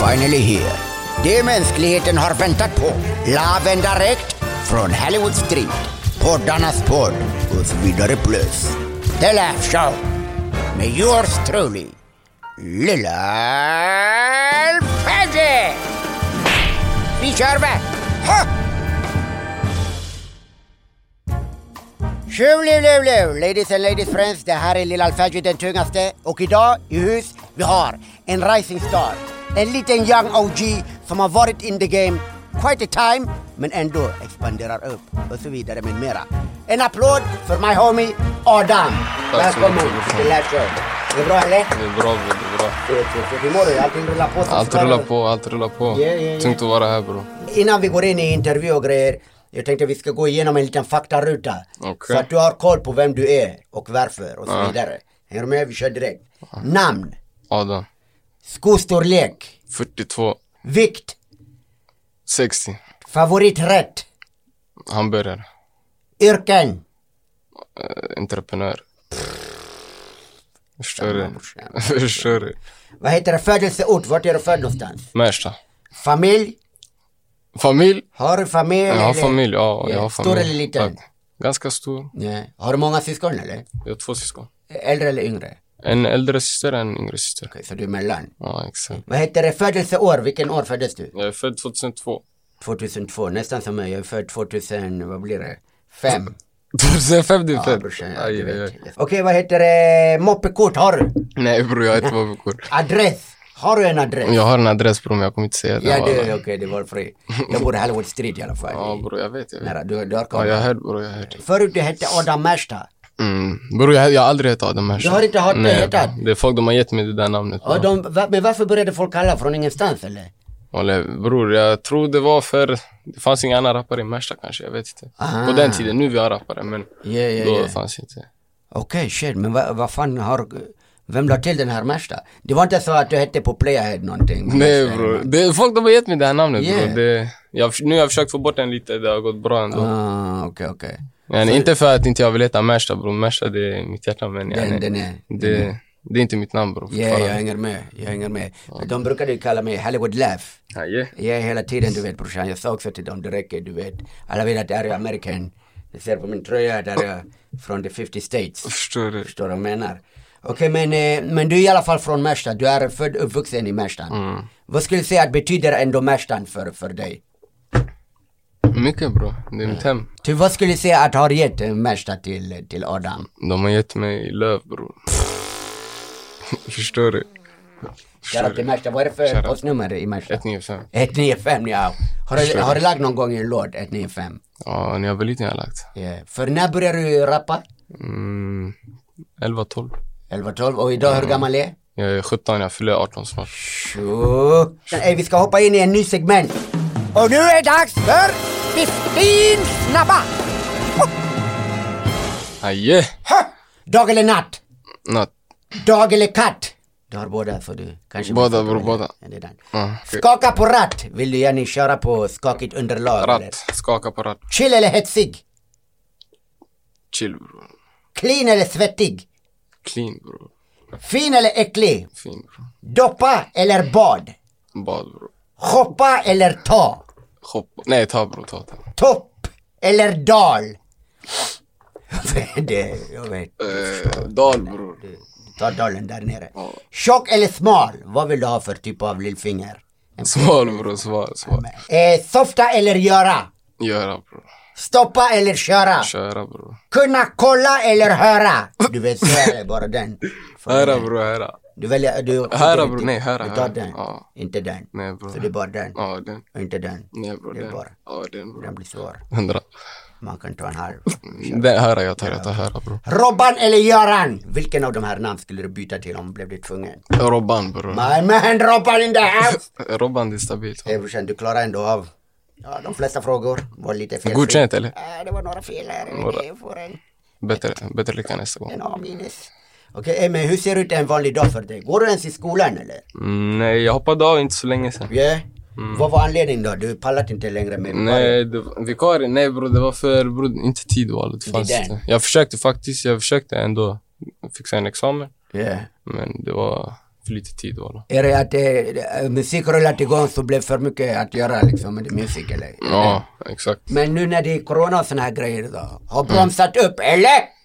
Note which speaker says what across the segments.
Speaker 1: finally here. Det mänskligheten har väntat på. Laven direkt från Hollywood Street. Poddarnas podd och så vidare plus. The Laugh Show. Med yours truly, Lilla Freddy! Vi kör va! Ha! Tjolilolol, ladies and ladies friends. Det här är Lilla Alfagio den tungaste och idag i hus vi har en rising star. En liten young OG som har varit in the game quite a time men ändå expanderar upp och så vidare med mera. En applåd för my homie Adam.
Speaker 2: Tack så
Speaker 1: Välkommen
Speaker 2: mycket,
Speaker 1: till Lilla Show. Det är bra eller?
Speaker 2: Det är bra, bro, det är bra.
Speaker 1: Fett, fett, fett. Hur mår du? Allting rullar på? som
Speaker 2: Allt
Speaker 1: ska.
Speaker 2: rullar på, allt rullar på.
Speaker 1: Ja, ja, ja.
Speaker 2: Tungt att vara här bro.
Speaker 1: Innan vi går in i intervju och grejer. Jag tänkte vi ska gå igenom en liten faktaruta.
Speaker 2: Okej.
Speaker 1: Så att du har koll på vem du är och varför och så vidare. Hänger du med? Vi kör direkt. Namn,
Speaker 2: Adam.
Speaker 1: skostorlek,
Speaker 2: 42,
Speaker 1: vikt,
Speaker 2: 60,
Speaker 1: favoriträtt,
Speaker 2: hamburgare,
Speaker 1: yrken.
Speaker 2: eh, entreprenör. Förstår du? Förstår du?
Speaker 1: Vad heter det? Födelseort? Vart är du född någonstans?
Speaker 2: Märsta.
Speaker 1: Familj?
Speaker 2: Familj?
Speaker 1: Har du familj?
Speaker 2: Jag har
Speaker 1: eller?
Speaker 2: familj, ja. Jag har
Speaker 1: Stor
Speaker 2: familj.
Speaker 1: eller liten?
Speaker 2: Tack. Ganska stor.
Speaker 1: Nej. Har du många syskon eller?
Speaker 2: Jag har två syskon.
Speaker 1: Äldre eller yngre?
Speaker 2: En äldre syster och en yngre syster.
Speaker 1: Okej, så du är mellan.
Speaker 2: Ja, exakt.
Speaker 1: Vad heter det? Födelseår? Vilken år föddes du?
Speaker 2: Jag är född 2002.
Speaker 1: 2002, nästan som jag. Jag är född 2000, vad blir det? Fem.
Speaker 2: 2005 du är
Speaker 1: Ja,
Speaker 2: född?
Speaker 1: brorsan, ja,
Speaker 2: Mm, Aj,
Speaker 1: du
Speaker 2: aj,
Speaker 1: vet.
Speaker 2: aj.
Speaker 1: Okej, vad heter det? Moppekort har du?
Speaker 2: Nej bror, jag har ett vappenkort.
Speaker 1: Adress? Har du en adress?
Speaker 2: Jag har en adress bror, men jag kommer inte säga den.
Speaker 1: Ja, det,
Speaker 2: walla.
Speaker 1: okej, det var fri. Jag bor i Hollywood Street i alla fall.
Speaker 2: Ja bror, jag vet. Jag vet.
Speaker 1: Nära, du, du har koll.
Speaker 2: Ja, jag hörde bror, jag hörde.
Speaker 1: Förut du hette Adam Märsta.
Speaker 2: Mm. Bror, jag, jag har aldrig hört Adam Hersa.
Speaker 1: Du har inte hört- hetat?
Speaker 2: Det är folk de har gett mig det där namnet.
Speaker 1: Och de, va, men varför började folk kalla från ingenstans eller?
Speaker 2: Olle, bror, jag tror det var för... Det fanns inga andra rappare i Märsta kanske, jag vet inte. På den tiden, nu vi har rappare, men
Speaker 1: Ja, Ah. ja,
Speaker 2: då
Speaker 1: ja.
Speaker 2: fanns inte.
Speaker 1: Okej, shit, men vad vad fan har... Vem la till den här Märsta? Det var inte så att du hette på Playhead någonting?
Speaker 2: Nej bror, det är folk de har gett mig det här namnet
Speaker 1: Yeah.
Speaker 2: bror. Det, jag, nu har jag försökt få bort den lite, det har gått bra ändå.
Speaker 1: Ah, Okej, okej.
Speaker 2: Men inte för att inte jag vill heta Märsta bror, Märsta det är mitt hjärta men jag,
Speaker 1: Den, den är...
Speaker 2: det, det är inte mitt namn bror.
Speaker 1: Ja, jag hänger med. Jag hänger med. De brukade ju kalla mig Hollywood Laugh.
Speaker 2: Ja, yeah.
Speaker 1: Jag är hela tiden, du vet brorsan, jag sa också till dem, det räcker, du vet. Alla vet att det här är American. Du ser på min tröja, där är jag från the 50 states.
Speaker 2: Förstår du?
Speaker 1: Förstår du vad jag menar? Okej, men, eh, men du är i alla fall från Märsta. Du är född och uppvuxen i Märsta. Vad skulle du säga att betyder ändå Märsta för, för dig?
Speaker 2: Mycket bror, det är mitt hem.
Speaker 1: Ty, vad skulle du säga att har gett eh, Märsta till, till Adam?
Speaker 2: De har gett mig löv bror. Förstår du?
Speaker 1: Shoutout till Märsta. Vad är det för postnummer i Märsta?
Speaker 2: 195.
Speaker 1: 195, ja. Har du,
Speaker 2: Förstår
Speaker 1: har du lagt någon gång i en låt, 195?
Speaker 2: Ja, när jag var liten har jag lagt.
Speaker 1: Ja, För när började du rappa?
Speaker 2: Mm, 11, 12.
Speaker 1: 11, 12 och idag hur gammal är?
Speaker 2: Jag är 17, jag fyller 18 snart.
Speaker 1: Tjo. Ey, vi ska hoppa in i en ny segment. Och nu är det dags för 15 snabba.
Speaker 2: Aje!
Speaker 1: Ha! Dag eller natt?
Speaker 2: Natt.
Speaker 1: Dag eller katt? Du har båda så du kanske...
Speaker 2: Båda, bror, båda.
Speaker 1: Ja, det är den.
Speaker 2: Ja, okej.
Speaker 1: Skaka på ratt. Vill du gärna köra på skakigt underlag? eller?
Speaker 2: Ratt. Skaka på ratt.
Speaker 1: Chill eller hetsig?
Speaker 2: Chill bror.
Speaker 1: Clean eller svettig?
Speaker 2: Clean bror.
Speaker 1: Fin eller äcklig?
Speaker 2: Fin bror.
Speaker 1: Doppa eller bad?
Speaker 2: Bad bror.
Speaker 1: Shoppa eller ta?
Speaker 2: Hopp. Nej, ta bror, ta. ta.
Speaker 1: Topp eller dal? det, jag vet.
Speaker 2: Eh, dal bror.
Speaker 1: Ta dalen där nere. Tjock eller smal? Vad vill du ha för typ av lillfinger?
Speaker 2: Sval bror, sval, sval.
Speaker 1: Eh, softa eller göra?
Speaker 2: Göra bror.
Speaker 1: Stoppa eller köra?
Speaker 2: Köra bror.
Speaker 1: Kunna kolla eller höra? Du vet, så är det bara den.
Speaker 2: Höra bror, höra.
Speaker 1: Du väljer, du... typ-
Speaker 2: Höra, bror. Nej, höra,
Speaker 1: Du tar
Speaker 2: höra.
Speaker 1: den.
Speaker 2: Ja.
Speaker 1: Inte den.
Speaker 2: Nej
Speaker 1: Så det är
Speaker 2: bror.
Speaker 1: bara den.
Speaker 2: Ja, den.
Speaker 1: Och inte den.
Speaker 2: Nej bror,
Speaker 1: Det är
Speaker 2: den.
Speaker 1: bara.
Speaker 2: Ja, den bror.
Speaker 1: Den blir svår.
Speaker 2: Hundra.
Speaker 1: Man kan ta en halv.
Speaker 2: Den höra jag tar, jag tar höra bror.
Speaker 1: Robban eller Göran? Vilken av de här namn skulle du byta till om du blev tvungen?
Speaker 2: Robban bror.
Speaker 1: My man Robban in the house!
Speaker 2: Robban det är stabilt. va?
Speaker 1: Eh, brorsan, du klarar ändå av ja, de flesta frågor. Var lite fel.
Speaker 2: Godkänt eller?
Speaker 1: Eh, det var några fel här. Jag får en,
Speaker 2: Bättre, bättre lycka nästa gång.
Speaker 1: en A minus. Okej, eh, men hur ser ut en vanlig dag för dig? Går du ens i skolan eller?
Speaker 2: Mm, nej, jag hoppade av inte så länge sedan.
Speaker 1: Ja. Vad var anledningen då? Du pallat inte längre med
Speaker 2: Nej, det, var- vikarien, nej bror, det var för bror, inte tid valet. Det fanns
Speaker 1: Det är
Speaker 2: inte. Jag försökte faktiskt, jag försökte ändå fixa en examen.
Speaker 1: Yeah.
Speaker 2: Men det var för lite tid walla.
Speaker 1: Är det att eh, musik rullade igång så blev för mycket att göra liksom med musik eller?
Speaker 2: Ja, exakt.
Speaker 1: Men nu när det är corona och såna här grejer då, har
Speaker 2: Mm.
Speaker 1: bromsat upp eller?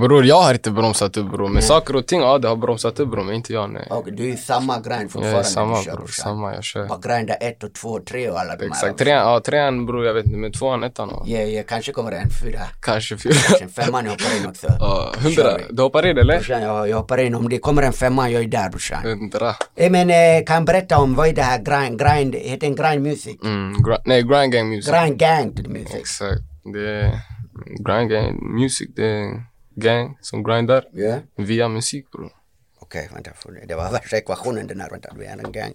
Speaker 2: Bror, jag har inte bromsat upp bror. Men saker och ting, ja det har bromsat upp bror, men inte jag nej.
Speaker 1: Och du är samma grind
Speaker 2: Jag
Speaker 1: fortfarande
Speaker 2: är samma
Speaker 1: du kör,
Speaker 2: bror,
Speaker 1: brorsan.
Speaker 2: samma jag kör.
Speaker 1: Bara grinda ett och två och tre och alla de
Speaker 2: Exakt,
Speaker 1: här.
Speaker 2: trean, ja trean bror jag vet inte, men tvåan, ettan och
Speaker 1: Ja, ja, kanske kommer det en fyra.
Speaker 2: kanske fyra.
Speaker 1: Kanske en femman hoppar in också.
Speaker 2: Ja,
Speaker 1: Kör
Speaker 2: hundra.
Speaker 1: vi.
Speaker 2: Du hoppar in eller?
Speaker 1: Brorsan, jag, jag hoppar in. Om det kommer en femma, jag är där brorsan.
Speaker 2: Hundra.
Speaker 1: Eh, men eh, kan berätta om vad är det här grind, grind, heter den grind music?
Speaker 2: Mm, gra- nej, grind gang music.
Speaker 1: Grind gang till music.
Speaker 2: Exakt. Det är grind gang music, det är gang som grindar
Speaker 1: Ja.
Speaker 2: via musik bror.
Speaker 1: Okej, vänta. får det- Det var värsta ekvationen den här. Vänta, vi är en gang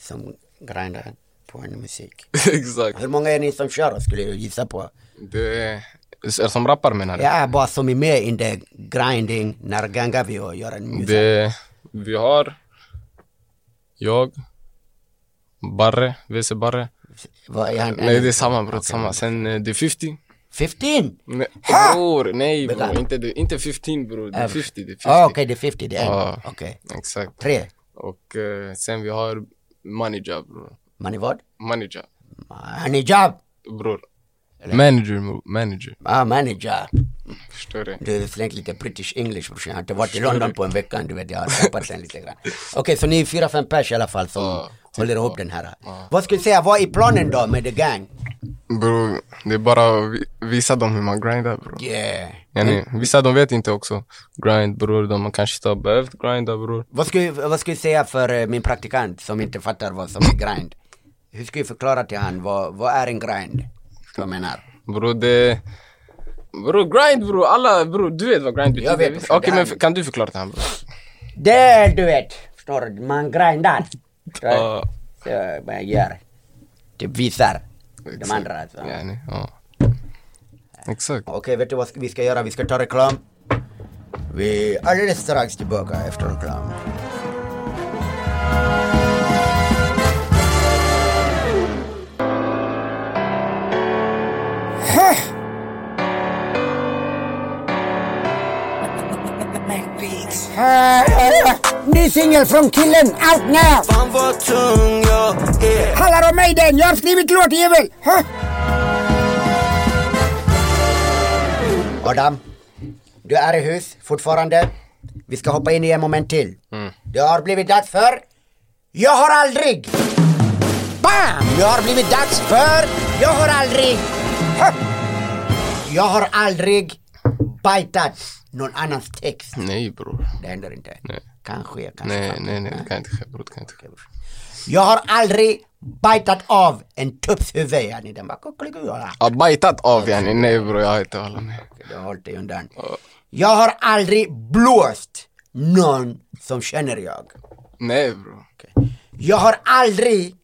Speaker 1: som grindar på en musik.
Speaker 2: Exakt.
Speaker 1: Hur många är ni som kör skulle jag gissa på?
Speaker 2: Det är, är som rappar menar du?
Speaker 1: Ja, bara som är med in the grinding när gangar vi och gör en musik.
Speaker 2: Det, vi har jag, Barre, WC Barre.
Speaker 1: Vad är han?
Speaker 2: Nej det är samma bror, samma. Sen eh, det är 50.
Speaker 1: 15?
Speaker 2: Nej, bror, nej bror. Inte, det- inte 15 bror, det är 50. Det är 50.
Speaker 1: Ja, Ah, okej, det är 50, det är en.
Speaker 2: Ja.
Speaker 1: Okej.
Speaker 2: Exakt.
Speaker 1: Tre.
Speaker 2: Och eh, sen vi har manager bror.
Speaker 1: Man är vad?
Speaker 2: Manager,
Speaker 1: Man är jobb.
Speaker 2: bror. Manager, bror. manager.
Speaker 1: Ah, man är jobb.
Speaker 2: Förstår du?
Speaker 1: Du slängde lite British English brorsan. Jag har inte varit i London på en vecka. Du vet, jag har tappat den lite grann. Okej, så ni är fyra, fem pers i alla fall som håller ihop den här. Vad skulle du säga, vad är planen då med The Gang?
Speaker 2: Bror, det är bara att vi- visa dem hur man grindar bror.
Speaker 1: Yeah.
Speaker 2: Ja, nej. Vissa de vet inte också. Grind bror, de kanske inte har behövt grinda bror.
Speaker 1: Vad skulle, vad skulle du säga för eh, min praktikant som inte fattar vad som är grind? Hur ska jag förklara till han vad, vad är en grind? Vad jag menar?
Speaker 2: Bror det... Bror grind bror, alla bror, du vet vad grind betyder?
Speaker 1: Jag vet,
Speaker 2: visst?
Speaker 1: bror,
Speaker 2: Okej
Speaker 1: det
Speaker 2: men
Speaker 1: här-
Speaker 2: kan du förklara det här bror?
Speaker 1: Det du vet, förstår du? Man grindar.
Speaker 2: Ja.
Speaker 1: Så man gör. Typ visar de andra. Alltså.
Speaker 2: Ja, nej, ja. Exakt.
Speaker 1: Okej, vet du vad vi ska göra? Vi ska ta reklam. Vi är alldeles strax tillbaka efter reklam. Ny singel från killen, Out Now!
Speaker 3: Fan vad tung jag är
Speaker 1: Handlar om mig den, jag har skrivit låt jävel! Ha? Adam, du är i hus fortfarande. Vi ska hoppa in i en moment till.
Speaker 2: Mm.
Speaker 1: Det har blivit dags för Jag har aldrig! Bam! Det har blivit dags för Jag har aldrig! Ha! Jag har aldrig bajtat någon annans text.
Speaker 2: Nej bror.
Speaker 1: Det händer inte.
Speaker 2: Nej.
Speaker 1: Kanske, kanske.
Speaker 2: Nej,
Speaker 1: kanske.
Speaker 2: nej, nej, det kan inte ske bror, det kan inte ske.
Speaker 1: Jag har aldrig bajtat av en tupps huvud. yani. Den bara kuckeliku.
Speaker 2: Ja, bajtat av yani, nej bror jag har inte hålla med.
Speaker 1: Du har hållit dig undan. Jag har aldrig blåst någon som känner jag.
Speaker 2: Nej bror.
Speaker 1: Jag har aldrig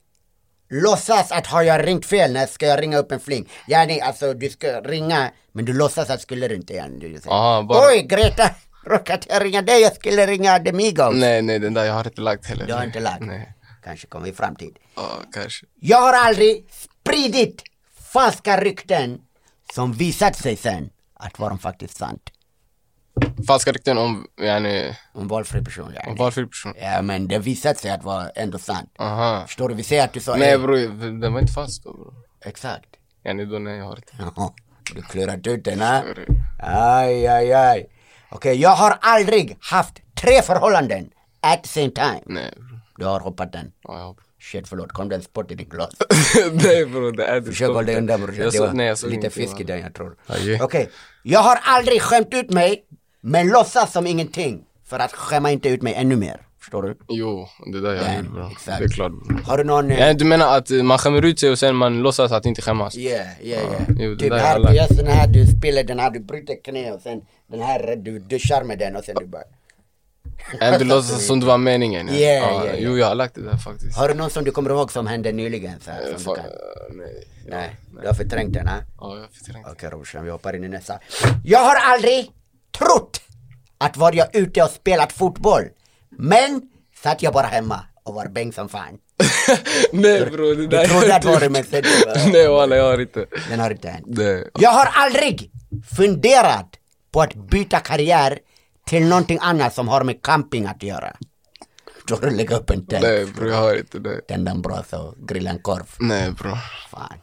Speaker 1: låtsas att har jag ringt fel när ska jag ringa upp en fling. Yani, alltså du ska ringa men du låtsas att skulle du inte. Yani. Du säger,
Speaker 2: Aha, bara-
Speaker 1: Oj Greta, råkat jag ringa dig? Jag skulle ringa Demigo.
Speaker 2: Nej, nej den där jag har inte lagt heller.
Speaker 1: Du har inte lagt.
Speaker 2: Nej.
Speaker 1: Kanske kommer i framtid.
Speaker 2: Ja, kanske.
Speaker 1: Jag har aldrig spridit falska rykten som visat sig sen att vara faktiskt sant.
Speaker 2: Falska rykten om, yani,
Speaker 1: Om valfri person. ja.
Speaker 2: om valfri person.
Speaker 1: Ja men det visat sig att vara ändå sant.
Speaker 2: Aha.
Speaker 1: Förstår du? Vi säger att du sa
Speaker 2: Nej
Speaker 1: eh,
Speaker 2: bror, den var inte falsk då bror.
Speaker 1: Exakt.
Speaker 2: Yani då nej, jag har inte.
Speaker 1: Jaha, Du klurat ut den ha? Aj, aj, aj. Okej, jag har aldrig haft tre förhållanden at the same time.
Speaker 2: Nej bror.
Speaker 1: Du har hoppat den.
Speaker 2: Ja, jag hoppas.
Speaker 1: Shit, förlåt. Kom den spott i ditt glas?
Speaker 2: nej bror, det är det.
Speaker 1: Försök hålla dig undan brorsan.
Speaker 2: Jag
Speaker 1: Det
Speaker 2: såg-
Speaker 1: var
Speaker 2: nej, jag såg
Speaker 1: lite
Speaker 2: ingenting,
Speaker 1: fisk i den jag tror. Okej,
Speaker 2: Aj.
Speaker 1: jag har aldrig skämt ut mig men låtsas som ingenting för att skämma inte ut mig ännu mer. Förstår du?
Speaker 2: Jo, det där jag gjorde bra.
Speaker 1: exakt.
Speaker 2: Mm, Det är klart bra.
Speaker 1: Har du någon... eh,
Speaker 2: Ja, du menar att eh, man skämmer ut sig och sen man låtsas att inte skämmas?
Speaker 1: Yeah, yeah, yeah.
Speaker 2: jo, det
Speaker 1: typ
Speaker 2: där är
Speaker 1: här,
Speaker 2: alla.
Speaker 1: du gör sån här, du spelar den här, du bryter knä och sen den här, du duschar med den och sen du bara...
Speaker 2: Ja, du låtsas som det var meningen? ja.
Speaker 1: Yeah,
Speaker 2: Ja,
Speaker 1: yeah,
Speaker 2: Jo, jag har lagt det där faktiskt.
Speaker 1: Har du någon som du kommer ihåg som hände nyligen? Så här, som
Speaker 2: Fan,
Speaker 1: du kan?
Speaker 2: eh, nej.
Speaker 1: Nej, du har förträngt den, ha?
Speaker 2: Ja, jag fick tänka.
Speaker 1: Okej brorsan, vi hoppar in i nästa. Jag har aldrig trott att var jag ute och spelat fotboll. Men satt jag bara hemma och var bäng som fan.
Speaker 2: Nej bror, det där
Speaker 1: Du trodde att
Speaker 2: jag
Speaker 1: var
Speaker 2: har
Speaker 1: det
Speaker 2: inte
Speaker 1: men sen du bara,
Speaker 2: Nej walla, jag har inte.
Speaker 1: den har inte hänt.
Speaker 2: Nej.
Speaker 1: Jag har aldrig funderat på att byta karriär till någonting annat som har med camping att göra. Står och lägger upp en tank.
Speaker 2: Nej bror, jag har inte det.
Speaker 1: Tända en brasa och grilla en korv.
Speaker 2: Nej bror.
Speaker 1: Fan.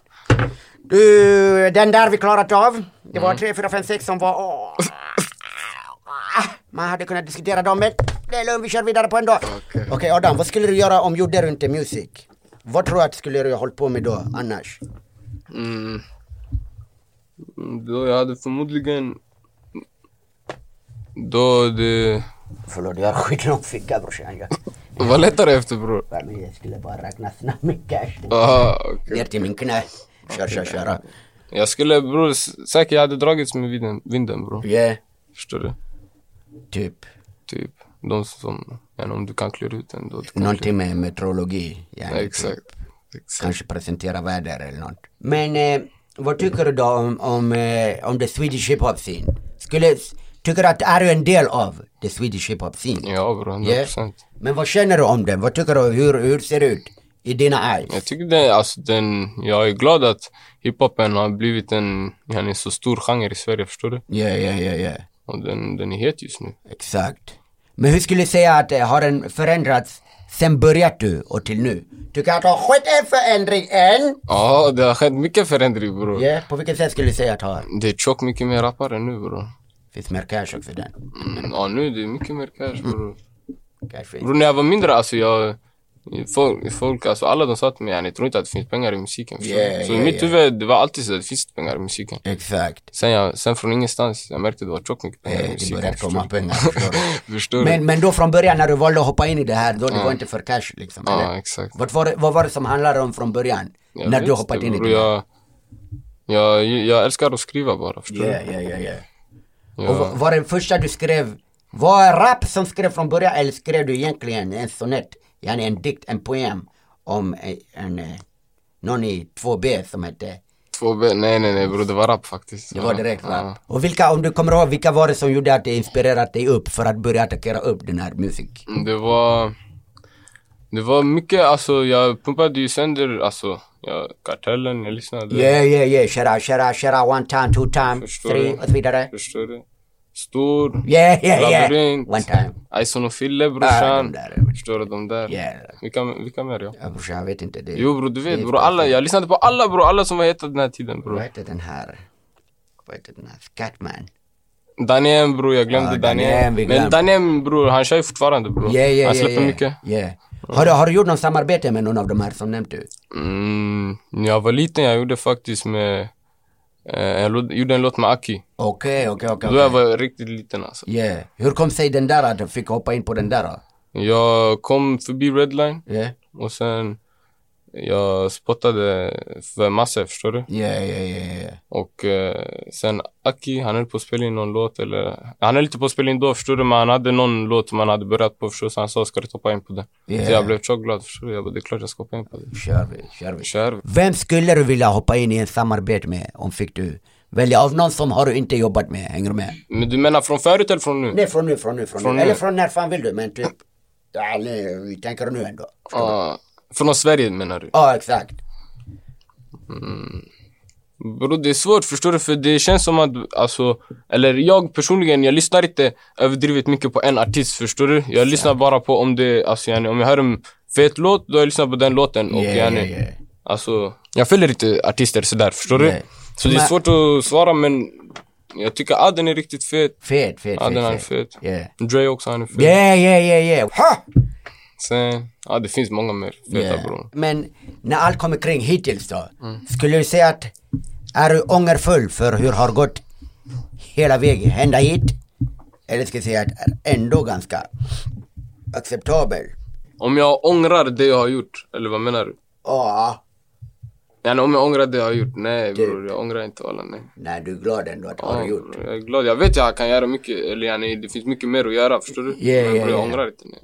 Speaker 1: Du, den där vi klarat av. Det var tre, fyra, fem, sex som var... Åh. Man hade kunnat diskutera dem men det är lugnt, vi kör vidare på en dag. Okej
Speaker 2: Okej.
Speaker 1: Adam, vad skulle du göra om gjorde du inte music? Vad tror du att skulle du ha hållit på med då annars?
Speaker 2: Mm. Mm, Då jag hade förmodligen... Då det...
Speaker 1: Förlåt, jag har skitlång ficka brorsan. Jag,
Speaker 2: Det var lättare efter bror.
Speaker 1: men jag skulle bara räkna snabbt med cash.
Speaker 2: Aha, okej.
Speaker 1: Ner till min knä. Kör, kör, köra.
Speaker 2: Jag skulle bror, s- säkert jag hade dragits med vinden, vinden bror.
Speaker 1: Yeah,
Speaker 2: Förstår du?
Speaker 1: typ.
Speaker 2: Typ. De som... Men om du kan klura ut den då. Du kan klura-
Speaker 1: Någonting med meteorologi. ja.
Speaker 2: Exakt. Exakt.
Speaker 1: kanske presentera väder eller något. Men eh, vad tycker du då om, om, eh, om the Swedish hiphop scene? Skulle, tycker du att är du en del av the Swedish hiphop scene?
Speaker 2: Ja bror, 100%.
Speaker 1: Yeah. Men vad känner du om den? Vad tycker du? Hur, hur ser det ut i dina eyes?
Speaker 2: Jag tycker det, alltså den... Jag är glad att hiphopen har blivit en, en, en så stor genre i Sverige, förstår du?
Speaker 1: Ja, ja, ja, ja.
Speaker 2: Och den, den är het just nu.
Speaker 1: Exakt. Men hur skulle du säga att eh, har den förändrats sen börjat du och till nu? Tycker du att det har skett en förändring än?
Speaker 2: Ja, det har skett mycket förändring bror.
Speaker 1: Ja, på vilket sätt skulle du säga att det har?
Speaker 2: Det är tjockt mycket mer rappare nu bror.
Speaker 1: Finns mer cash också den?
Speaker 2: Mm, ja, nu det är mycket mer cash bror.
Speaker 1: Cash finns.
Speaker 2: Bror, när jag var mindre alltså jag... Folk, folk alltså alla de sa till mig yani, tror inte att det finns pengar i musiken. förstår du?
Speaker 1: Yeah,
Speaker 2: så
Speaker 1: yeah,
Speaker 2: i mitt
Speaker 1: yeah.
Speaker 2: huvud, det var alltid så att det finns pengar i musiken.
Speaker 1: Exakt.
Speaker 2: Sen, jag, sen från ingenstans, jag märkte att det var tjockt mycket pengar i
Speaker 1: Eh, Det
Speaker 2: musiken.
Speaker 1: börjar
Speaker 2: förstår
Speaker 1: komma
Speaker 2: du?
Speaker 1: pengar. förstår du?
Speaker 2: Förstår du?
Speaker 1: Men, men då från början när du valde att hoppa in i det här, då det var inte för cash liksom?
Speaker 2: Mm. Ja,
Speaker 1: eller?
Speaker 2: exakt.
Speaker 1: Vad, var, det- vad var det som handlade om från början?
Speaker 2: Jag
Speaker 1: när
Speaker 2: vet
Speaker 1: du hoppat
Speaker 2: inte,
Speaker 1: in i
Speaker 2: bror.
Speaker 1: det? här?
Speaker 2: Jag, jag, jag älskar att skriva bara, förstår
Speaker 1: Ja, ja, ja, ja.
Speaker 2: du?
Speaker 1: Och va-
Speaker 2: Jag,
Speaker 1: var det första du skrev, var det rap som skrev från början eller skrev du egentligen en sonett, yani en dikt, en poem om en, en, eh, någon i 2B som hette,
Speaker 2: två B, nej nej nej bror, det var rap faktiskt.
Speaker 1: det var direkt
Speaker 2: Ja.
Speaker 1: rap. Och vilka, om du kommer ihåg, vilka var det som gjorde att det inspirerat dig upp för att börja attackera upp den här musik?
Speaker 2: Mm, Det var... Det var mycket, alltså jag pumpade ju sönder, alltså, jag, kartellen, jag lyssnade.
Speaker 1: Yeah, yeah, yeah, shara, shara, shara, one time, two time,
Speaker 2: Förstår
Speaker 1: three
Speaker 2: du?
Speaker 1: och så vidare.
Speaker 2: Förstår du? Stor.
Speaker 1: Yeah, yeah, yeah.
Speaker 2: Labyrint.
Speaker 1: One time.
Speaker 2: Ison och Fille
Speaker 1: Ah, de
Speaker 2: brorsan.
Speaker 1: där.
Speaker 2: Förstår du de där?
Speaker 1: Yeah.
Speaker 2: Vilka, vilka mer ja?
Speaker 1: Ja, brorsan, jag vet inte. Det,
Speaker 2: Jo bror, du vet bror, alla, jag lyssnade på alla bror, alla som var heta den här tiden
Speaker 1: Vad
Speaker 2: bror.
Speaker 1: hette den här? Vad hette den här? Scatman.
Speaker 2: Daniel bror, jag glömde
Speaker 1: Ja,
Speaker 2: Daniel.
Speaker 1: Daniel, vi glömde.
Speaker 2: Men Daniel bror, han kör ju fortfarande
Speaker 1: Yeah,
Speaker 2: bror.
Speaker 1: yeah, yeah.
Speaker 2: han släpper
Speaker 1: yeah,
Speaker 2: mycket.
Speaker 1: Yeah. Har, du, har du gjort något samarbete med någon av de här som nämnt du?
Speaker 2: Mm, när jag var liten, jag gjorde faktiskt med... Eh, jag lo- gjorde en låt med Aki.
Speaker 1: Okej, okej, okej.
Speaker 2: Då jag var riktigt liten alltså.
Speaker 1: Yeah. Hur kom sig den där att du fick hoppa in på den där då?
Speaker 2: Jag kom förbi Redline
Speaker 1: Yeah,
Speaker 2: och sen jag spottade för massor, förstår du?
Speaker 1: yeah, yeah, yeah. yeah.
Speaker 2: Och eh, sen Aki, han höll på att spela in någon låt eller... Han höll inte på att spela in då, förstår du? Men han hade någon låt som han hade börjat på, förstår du? Så han sa, ska du hoppa in på den?
Speaker 1: Yeah.
Speaker 2: Så jag blev så glad, förstår du? Jag bara, det är klart jag ska hoppa in på den.
Speaker 1: Kör vi, kör vi.
Speaker 2: Kör.
Speaker 1: Vem skulle du vilja hoppa in i ett samarbete med om fick du välja av någon som har du inte jobbat med? Hänger du med?
Speaker 2: Men du menar från förut eller från nu?
Speaker 1: Nej, från nu, från nu, från,
Speaker 2: Från
Speaker 1: nu.
Speaker 2: nu.
Speaker 1: Eller från när fan vill du, men typ. Ja, nej, vi tänker nu ändå.
Speaker 2: Ah, från Sverige menar du?
Speaker 1: Ja, exakt.
Speaker 2: Bro, det är svårt förstår du för det känns som att, alltså, eller jag personligen, jag lyssnar inte överdrivet mycket på en artist förstår du. Jag lyssnar bara på om det, alltså yani, om jag hör en fet låt, då jag lyssnar på den låten och
Speaker 1: Yeah,
Speaker 2: yani,
Speaker 1: yeah, yeah.
Speaker 2: alltså, jag följer inte artister sådär förstår
Speaker 1: Nej.
Speaker 2: du. Så det är
Speaker 1: Men-
Speaker 2: svårt att svara men jag tycker ah, den är riktigt fet.
Speaker 1: Fet, fet,
Speaker 2: Ja,
Speaker 1: fet.
Speaker 2: den är
Speaker 1: fet.
Speaker 2: fet.
Speaker 1: Yeah.
Speaker 2: Dre också, han är fet.
Speaker 1: Yeah, yeah, yeah, yeah. Ha!
Speaker 2: Sen, ja det finns många mer feta
Speaker 1: Yeah.
Speaker 2: bror.
Speaker 1: Men när allt kommer kring hittills då, skulle du säga att är du ångerfull för hur har gått hela vägen, ända hit? Eller ska jag säga att är ändå ganska acceptabel?
Speaker 2: Om jag ångrar det jag har gjort, eller vad menar du?
Speaker 1: Ja,
Speaker 2: Yani, om jag ångrar det jag har gjort? Nej bror, jag ångrar inte alla, nej.
Speaker 1: när du är glad ändå att
Speaker 2: Ja,
Speaker 1: ha gjort.
Speaker 2: Jag är glad. Jag vet jag kan göra mycket, eller yani, det finns mycket mer att göra, förstår du?
Speaker 1: Ja,
Speaker 2: men
Speaker 1: ja,
Speaker 2: bror, jag
Speaker 1: ja.
Speaker 2: ångrar inte. Nej.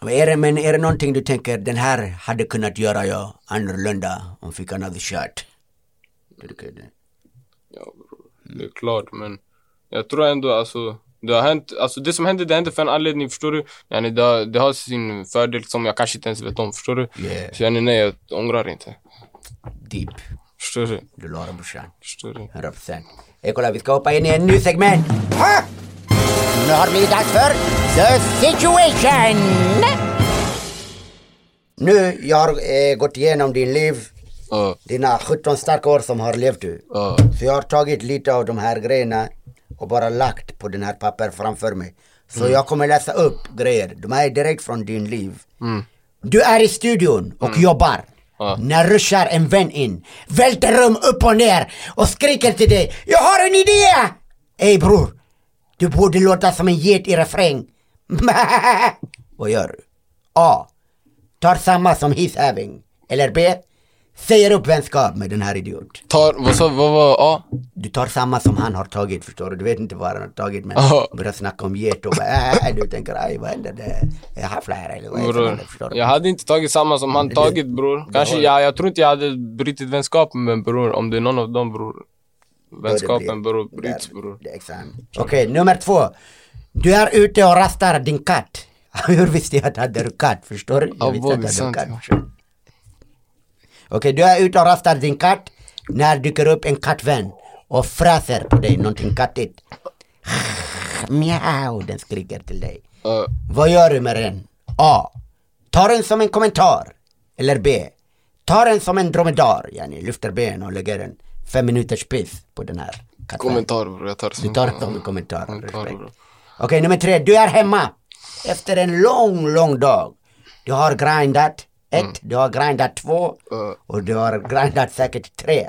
Speaker 1: Och Är det, men är det någonting du tänker, den här hade kunnat göra jag annorlunda om fick another shot? Tycker du?
Speaker 2: Ja, bror. Det är klart, men jag tror ändå alltså, det har hänt, alltså det som hände, det hände för en anledning, förstår du? Yani, det, har, det har sin fördel som jag kanske inte ens vet om, förstår du?
Speaker 1: Yeah.
Speaker 2: Så yani, nej, jag ångrar inte.
Speaker 1: Deep,
Speaker 2: Förstår du?
Speaker 1: du la det brorsan.
Speaker 2: Förstår du?
Speaker 1: 100%. Hej kolla, vi ska hoppa in i en ny segment. Ha! Nu har det blivit dags för The Situation! Nu, jag har eh, gått igenom din liv,
Speaker 2: Ja,
Speaker 1: dina 17 starka år som har levt du.
Speaker 2: ja,
Speaker 1: Så jag har tagit lite av de här grejerna och bara lagt på den här papper framför mig. Så jag kommer läsa upp grejer, de här är direkt från din liv. Du är i studion och jobbar.
Speaker 2: Ja.
Speaker 1: När ruschar en vän in, välter rum upp och ner och skriker till dig Jag har en idé! Ey bror, du borde låta som en get i refräng. Vad gör du? A. Tar samma som he's having. Eller B. Säger upp vänskap med den här idiot.
Speaker 2: Tar, vad sa, vad var, ja.
Speaker 1: Du tar samma som han har tagit förstår du, du vet inte vad han har tagit men
Speaker 2: Ja.
Speaker 1: börjar snacka om get och bara, äh, du tänker aj vad händer det? Jag har flera eller vad heter
Speaker 2: Bror,
Speaker 1: det? Förstår du?
Speaker 2: jag hade inte tagit samma som han tagit bror. Kanske, ja, jag tror inte jag hade brutit vänskapen med bror om det är någon av dem bror.
Speaker 1: blir-
Speaker 2: Vänskapen bror, bryts bror.
Speaker 1: Det är examen. Okej, nummer två. Du är ute och rastar din katt. Hur visste jag att du hade katt? Förstår du?
Speaker 2: Ja,
Speaker 1: Jag visste
Speaker 2: vad
Speaker 1: att du
Speaker 2: det är sant,
Speaker 1: hade katt.
Speaker 2: ja.
Speaker 1: förstår du? Okej, du är ute och rastar din katt. När dyker upp en kattvän och fräser på dig någonting kattigt. Mjau, den skriker till dig.
Speaker 2: Ja.
Speaker 1: Vad gör du med den? A. Tar den som en kommentar. Eller B. Tar den som en dromedar. Yani lyfter ben och lägger en fem minuters piss på den här katten.
Speaker 2: Kommentar bror, jag tar
Speaker 1: Du
Speaker 2: som
Speaker 1: tar den som en kommentar.
Speaker 2: Kommentar,
Speaker 1: Respekt.
Speaker 2: bro.
Speaker 1: Okej, nummer tre. Du är hemma. Efter en lång, lång dag. Du har grindat ett, du har grindat två
Speaker 2: Ja.
Speaker 1: och du har grindat säkert tre.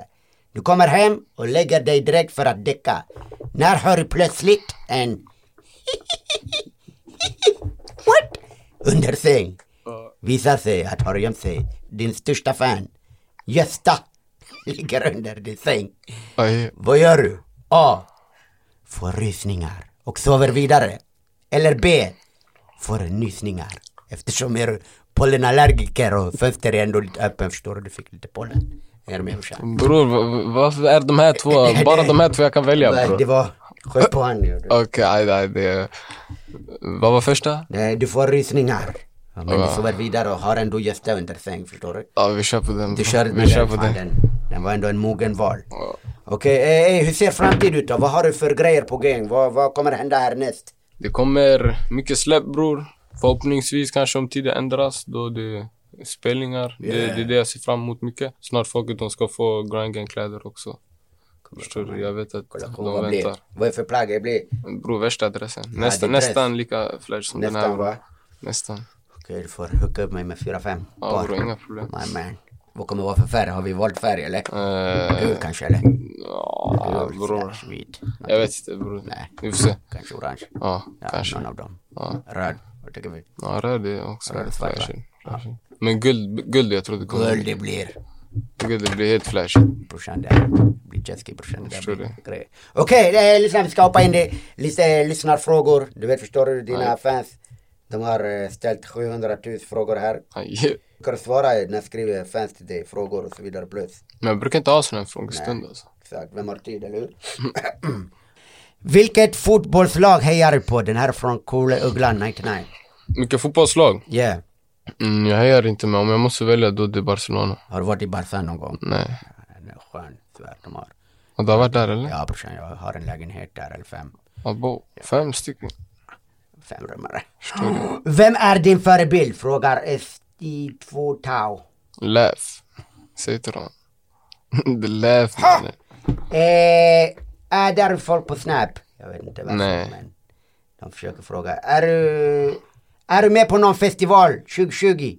Speaker 1: Du kommer hem och lägger dig direkt för att däcka. När hör du plötsligt en What? Under säng. Visar sig att har gömt sig. Din största fan, Gösta, ligger under din säng.
Speaker 2: Aj.
Speaker 1: Vad gör du? A. Får rysningar och sover vidare. Eller B. Får nysningar. Eftersom er pollenallergiker och fönster är ändå lite öppen förstår du, du fick lite pollen. Är du med brorsan?
Speaker 2: Bror, va- varför är de här två, bara de här två jag kan välja
Speaker 1: Nej,
Speaker 2: bror?
Speaker 1: Det var, sköt på han nu. du.
Speaker 2: Okej, aj, aj, det... Vad var första?
Speaker 1: Nej, du får rysningar. Men du sover vidare och har ändå gäster under säng förstår du.
Speaker 2: Ja, vi kör på den.
Speaker 1: Du körde
Speaker 2: vi
Speaker 1: med
Speaker 2: kör
Speaker 1: den,
Speaker 2: på
Speaker 1: fan,
Speaker 2: den.
Speaker 1: den. Den var ändå en mogen val. Okej, eh, eh, hur ser framtiden ut då? Vad har du för grejer på gång? Vad, vad kommer hända härnäst?
Speaker 2: Det kommer mycket släpp bror. Förhoppningsvis kanske om tiden ändras då det är spelningar. Det, det är det jag ser fram emot mycket. Snart folket de ska få Grand Gang kläder också. Förstår du? Jag vet att
Speaker 1: Kolla på
Speaker 2: de
Speaker 1: vad det blir.
Speaker 2: väntar.
Speaker 1: Vad är för plagg det blir?
Speaker 2: Bror, värsta adressen. Nästan,
Speaker 1: det är dress.
Speaker 2: nästan lika flash som den här.
Speaker 1: Nästan va?
Speaker 2: bror. Nästan.
Speaker 1: Okej, du får hooka upp mig med fyra fem
Speaker 2: Ja bror, inga problem.
Speaker 1: My man. Vad kommer vara för färg? Har vi valt färg eller?
Speaker 2: Eh,
Speaker 1: Gul kanske eller?
Speaker 2: Ja,
Speaker 1: Gul,
Speaker 2: bror.
Speaker 1: slash vit.
Speaker 2: Jag vet inte bror.
Speaker 1: Nej.
Speaker 2: Vi får se.
Speaker 1: Kanske orange.
Speaker 2: Ja,
Speaker 1: Ja,
Speaker 2: kanske.
Speaker 1: Någon av dem.
Speaker 2: Ja. Mm.
Speaker 1: Röd. Vad tycker vi?
Speaker 2: Ja, röd är också
Speaker 1: Röd är svart, va?
Speaker 2: flash. Men guld, guld jag tror det kommer.
Speaker 1: Guld
Speaker 2: Guld.
Speaker 1: det blir.
Speaker 2: det blir helt flash.
Speaker 1: brorsan där. Blir jetski brorsan där.
Speaker 2: Förstår
Speaker 1: blir
Speaker 2: det.
Speaker 1: grejer. Okej, eh, lyssna vi ska hoppa in i lite eh, lyssnarfrågor. Du vet förstår du, dina fans. De har eh, ställt 700 000 frågor här.
Speaker 2: Aj.
Speaker 1: Ska du svara eh, när skriver fans till dig frågor och så vidare plus.
Speaker 2: Men jag brukar inte ha sån här frågestund alltså.
Speaker 1: Exakt, vem har tid eller hur? Vilket fotbollslag hejar du på? Den här från Coole Ugglan 99.
Speaker 2: Mycket fotbollslag?
Speaker 1: Yeah.
Speaker 2: Mm, jag hejar inte men om jag måste välja då är det Barcelona.
Speaker 1: Har du varit i Barca någon gång?
Speaker 2: Nej.
Speaker 1: Den är Skön, tyvärr de har.
Speaker 2: Och du har varit där eller?
Speaker 1: Ja brorsan, jag har en lägenhet där, eller fem.
Speaker 2: Abo. Fem stycken.
Speaker 1: femrummare. Vem är din förebild? Frågar ST2 Tau.
Speaker 2: Läf. Säg till dem. Det läf mannen.
Speaker 1: Eh, är där folk på Snap? Jag vet inte varför
Speaker 2: Nej.
Speaker 1: men de försöker fråga. Är du, är du med på någon festival 2020?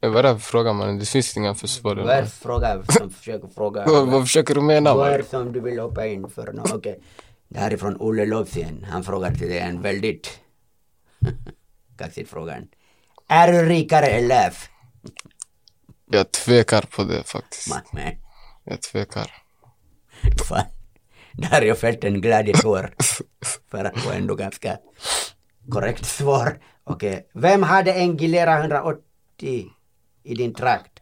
Speaker 2: Vad är det här för fråga mannen? Det finns inga för svar.
Speaker 1: Vad är det
Speaker 2: eller?
Speaker 1: för fråga som försöker fråga?
Speaker 2: Vad vad försöker du mena
Speaker 1: Vad är det
Speaker 2: mannen?
Speaker 1: som du vill hoppa in för? No, okay. Det här är från Olle Lovsien. Han frågar till dig en väldigt kaxig fråga. Är du rikare eller läf?
Speaker 2: Jag tvekar på det faktiskt.
Speaker 1: Man, man.
Speaker 2: Jag tvekar.
Speaker 1: Fan. Där har jag fällt en glädjetår. För att få ändå ganska korrekt svar. Okej. Vem hade en Gilera 180 i din trakt?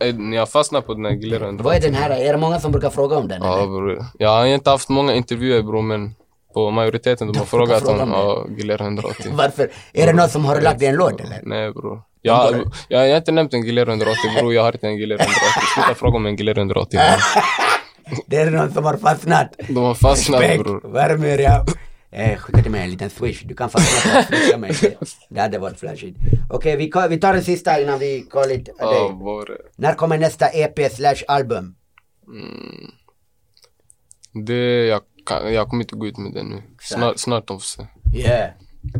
Speaker 2: Ey, Ni har fastnat på den här glirren.
Speaker 1: Vad är den här? Är det många som brukar fråga om den?
Speaker 2: Ja
Speaker 1: eller?
Speaker 2: bror. Jag har inte haft många intervjuer bror men på majoriteten de har frågat om ja, glirren 180.
Speaker 1: Varför? Är det någon som har lagt i en låt eller?
Speaker 2: Nej bror. Jag, jag, jag har inte nämnt en Giler 180 bror, jag har inte en Giler 180. Sluta fråga om en Giler 180
Speaker 1: Ah,
Speaker 2: bror.
Speaker 1: Det är någon som har fastnat.
Speaker 2: De har fastnat
Speaker 1: Beck,
Speaker 2: bror.
Speaker 1: värmer jag. Eh, skicka till mig en liten swish. Du kan fan swisha mig. Det- Det hade varit flashigt. Okej, vi, ko- vi tar en sista innan vi call it a day.
Speaker 2: Ja, vad var det?
Speaker 1: När kommer nästa EP slash album?
Speaker 2: Det, jag, kan, jag kommer inte gå ut med det nu. Snart, snart de får se.
Speaker 1: Yeah.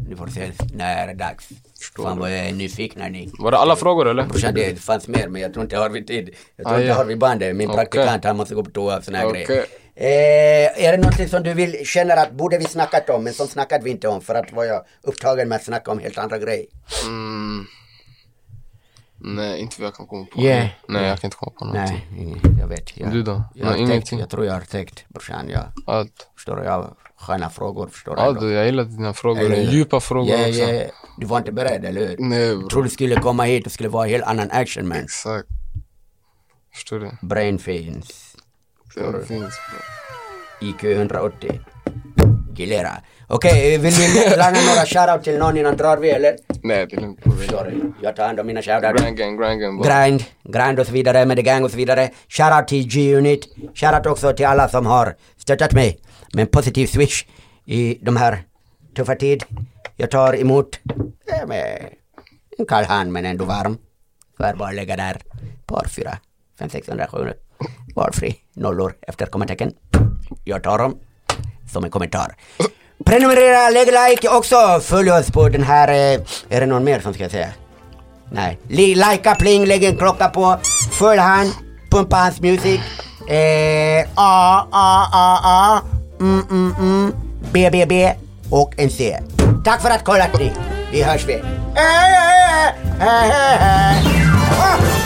Speaker 1: Nu får vi se när det är dags.
Speaker 2: Förstår
Speaker 1: fan
Speaker 2: du.
Speaker 1: vad jag är nyfikna ni.
Speaker 2: Var det alla frågor eller?
Speaker 1: Brorsan det fanns mer men jag tror inte har vi tid. Jag tror
Speaker 2: Ah,
Speaker 1: inte
Speaker 2: ja.
Speaker 1: har vi bandet. Min
Speaker 2: Okej.
Speaker 1: praktikant han måste gå på toa och såna här
Speaker 2: Okej.
Speaker 1: grejer. Eh, är det någonting som du vill, känner att borde vi snackat om men som snackade vi inte om för att var jag upptagen med att snacka om helt andra grejer.
Speaker 2: Mm. Nej, inte vad jag kan komma på.
Speaker 1: Yeah.
Speaker 2: Nej, jag kan inte komma på någonting.
Speaker 1: Nej, jag vet. Jag,
Speaker 2: Du då?
Speaker 1: Jag,
Speaker 2: Nej,
Speaker 1: har täckt,
Speaker 2: ingenting.
Speaker 1: jag tror jag har täckt brorsan. Jag
Speaker 2: Allt.
Speaker 1: förstår, jag har sköna frågor förstår
Speaker 2: Ja,
Speaker 1: ändå.
Speaker 2: du, jag gillar dina frågor.
Speaker 1: Eller hur?
Speaker 2: Djupa frågor
Speaker 1: Ja,
Speaker 2: också. Mm.
Speaker 1: ja, ja. Du var inte beredd eller hur?
Speaker 2: Nej, bro.
Speaker 1: Tror du skulle komma hit och skulle vara en helt annan action man.
Speaker 2: Exakt. Förstår du?
Speaker 1: Brain feelings.
Speaker 2: Det finns bro.
Speaker 1: IQ 180. Gilera. Okej, vill vi lämna några shoutout till någon innan drar vi eller?
Speaker 2: Nej, det är lugnt. bro.
Speaker 1: Sorry, jag tar hand om mina shoutouts.
Speaker 2: Grand gang, grand gang. bara.
Speaker 1: Grind, grind och så vidare med The Gang och så vidare. Shoutout till G-Unit. Shoutout också till alla som har stöttat mig med en positiv switch i de här tuffa tid. Jag tar emot eh, med en kall hand men ändå varm. För bara lägga där. Par fyra, fem, sex, hundra, sjuhundra. Valfri. Nollor efter kommatecken. Jag tar dem som en kommentar. Prenumerera, lägg like också. Följ oss på den här, eh, är det någon mer som ska säga? Nej. Li- Likea Pling, lägg en klocka på. Följ han, pumpa hans musik. Eh, A, A, A, A, mm, mm, mm, B, B, B och en C. Tack för att kollat ni. Vi hörs vi. Eh, eh, eh, eh, eh, eh. Ah!